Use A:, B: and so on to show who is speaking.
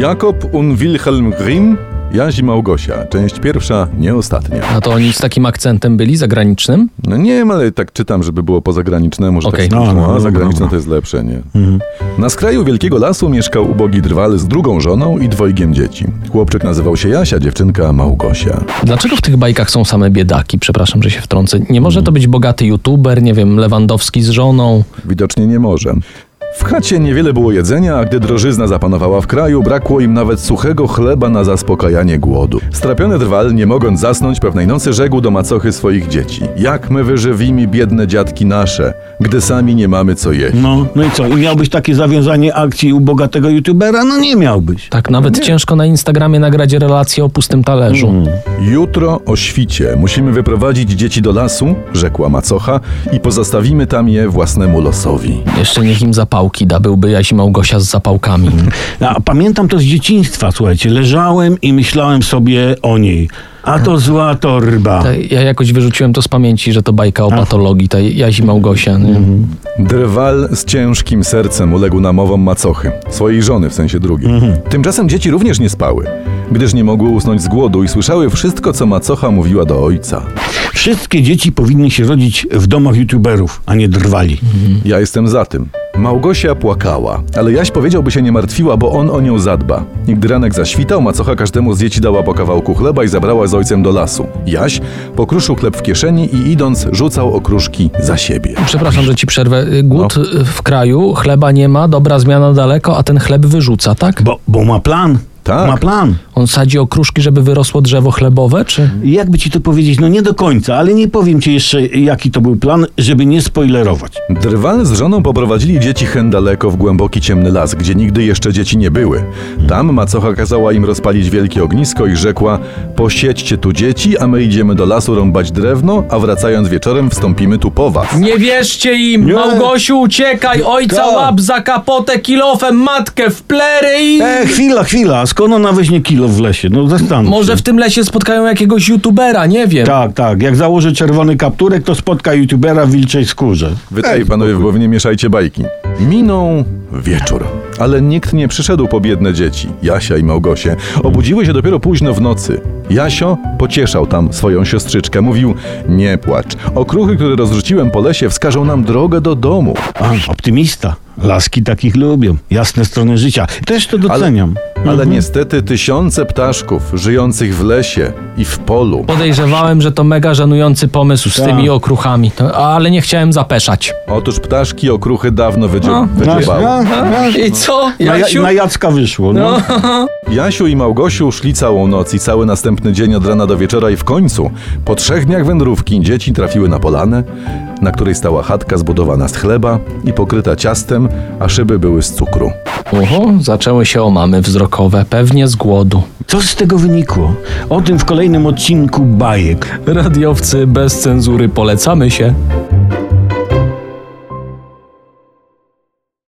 A: Jakob und Wilhelm Grimm, Jaś i Małgosia. Część pierwsza, nie ostatnia.
B: A to oni z takim akcentem byli zagranicznym?
A: No nie wiem, ale tak czytam, żeby było pozagraniczne, może
B: Okej.
A: tak no,
C: No, no,
A: a
C: no,
A: zagraniczne
C: no. Mhm.
A: to jest lepsze, nie? Na skraju wielkiego lasu mieszkał ubogi drwal z drugą żoną i dwojgiem dzieci. Chłopczyk nazywał się Jasia, dziewczynka Małgosia.
B: Dlaczego w tych bajkach są same biedaki? Przepraszam, że się wtrącę. Nie może to być bogaty youtuber, nie wiem, Lewandowski z żoną.
A: Widocznie nie może. W chacie niewiele było jedzenia, a gdy drożyzna zapanowała w kraju, brakło im nawet suchego chleba na zaspokajanie głodu. Strapiony drwal, nie mogąc zasnąć, pewnej nocy rzekł do macochy swoich dzieci. Jak my wyżywimy biedne dziadki nasze, gdy sami nie mamy co jeść.
C: No, no i co? I miałbyś takie zawiązanie akcji u bogatego youtubera? No nie miałbyś.
B: Tak, nawet ciężko na Instagramie nagrać relację o pustym talerzu.
A: Jutro o świcie musimy wyprowadzić dzieci do lasu, rzekła macocha, i pozostawimy tam je własnemu losowi.
B: Jeszcze niech im zapałki da, byłby Jaś i Małgosia z zapałkami.
C: A pamiętam to z dzieciństwa, słuchajcie. Leżałem i myślałem sobie o niej. A to zła torba.
B: Ta- Ja jakoś wyrzuciłem to z pamięci, że to bajka o patologii, ta Jaś i Małgosia. Nie?
A: Drwal z ciężkim sercem uległ namowom macochy, swojej żony w sensie drugim. Tymczasem dzieci również nie spały, gdyż nie mogły usnąć z głodu i słyszały wszystko, co macocha mówiła do ojca.
C: Wszystkie dzieci powinny się rodzić w domach youtuberów, a nie drwali.
A: Ja jestem za tym. Małgosia płakała, ale Jaś powiedział, by się nie martwiła, bo on o nią zadba. I gdy ranek zaświtał, macocha każdemu z dzieci dała po kawałku chleba i zabrała z ojcem do lasu. Jaś pokruszył chleb w kieszeni i idąc rzucał okruszki za siebie.
B: Przepraszam, że ci przerwę. Y, Głód y, w kraju, chleba nie ma, dobra zmiana daleko, a ten chleb wyrzuca, tak?
C: Bo, bo ma plan.
A: Tak.
C: Ma plan.
B: On sadzi okruszki, żeby wyrosło drzewo chlebowe, czy?
C: Jakby ci to powiedzieć, no nie do końca, ale nie powiem ci jeszcze, jaki to był plan, żeby nie spoilerować.
A: Drwal z żoną poprowadzili dzieci hen daleko w głęboki ciemny las, gdzie nigdy jeszcze dzieci nie były. Tam macocha kazała im rozpalić wielkie ognisko i rzekła: Posiedźcie tu dzieci, a my idziemy do lasu rąbać drewno, a wracając wieczorem wstąpimy tu po was.
B: Nie wierzcie im!
A: Nie.
B: Małgosiu, uciekaj! Ojca
C: Tak.
B: łap za kapotę kilofem, matkę w plery i...
C: E, chwila, chwila, skąd ona weźmie kilo w lesie? No zastanów się.
B: Może w tym lesie spotkają jakiegoś youtubera, nie wiem.
C: Tak, tak. Jak założy czerwony kapturek, to spotka youtubera w wilczej skórze.
A: Wytaj panowie, bo wy nie mieszajcie bajki. Minął wieczór, ale nikt nie przyszedł po biedne dzieci, Jasia i Małgosie. Obudziły się dopiero późno w nocy. Jasio pocieszał tam swoją siostrzyczkę. Mówił, nie płacz. Okruchy, które rozrzuciłem po lesie, wskażą nam drogę do domu.
C: A, optymista. Laski takich lubią. Jasne strony życia. Też to doceniam. No.
A: Ale niestety tysiące ptaszków żyjących w lesie i w polu.
B: Podejrzewałem, że to mega żenujący pomysł z
C: Tak.
B: tymi okruchami, no, ale nie chciałem zapeszać.
A: Otóż ptaszki okruchy dawno wydzio-
C: No,
A: wydziobały.
C: no, no.
B: I co,
C: Na, ja-
B: Jasiu?
C: na Jacka wyszło. No.
A: Jasiu i Małgosiu szli całą noc i cały następny dzień od rana do wieczora i w końcu, po trzech dniach wędrówki, dzieci trafiły na polanę, na której stała chatka zbudowana z chleba i pokryta ciastem, a szyby były z cukru.
B: Oho, zaczęły się omamy wzrokowe, pewnie z głodu.
C: Co z tego wynikło? O tym w kolejnym odcinku bajek.
B: Radiowcy bez cenzury polecamy się.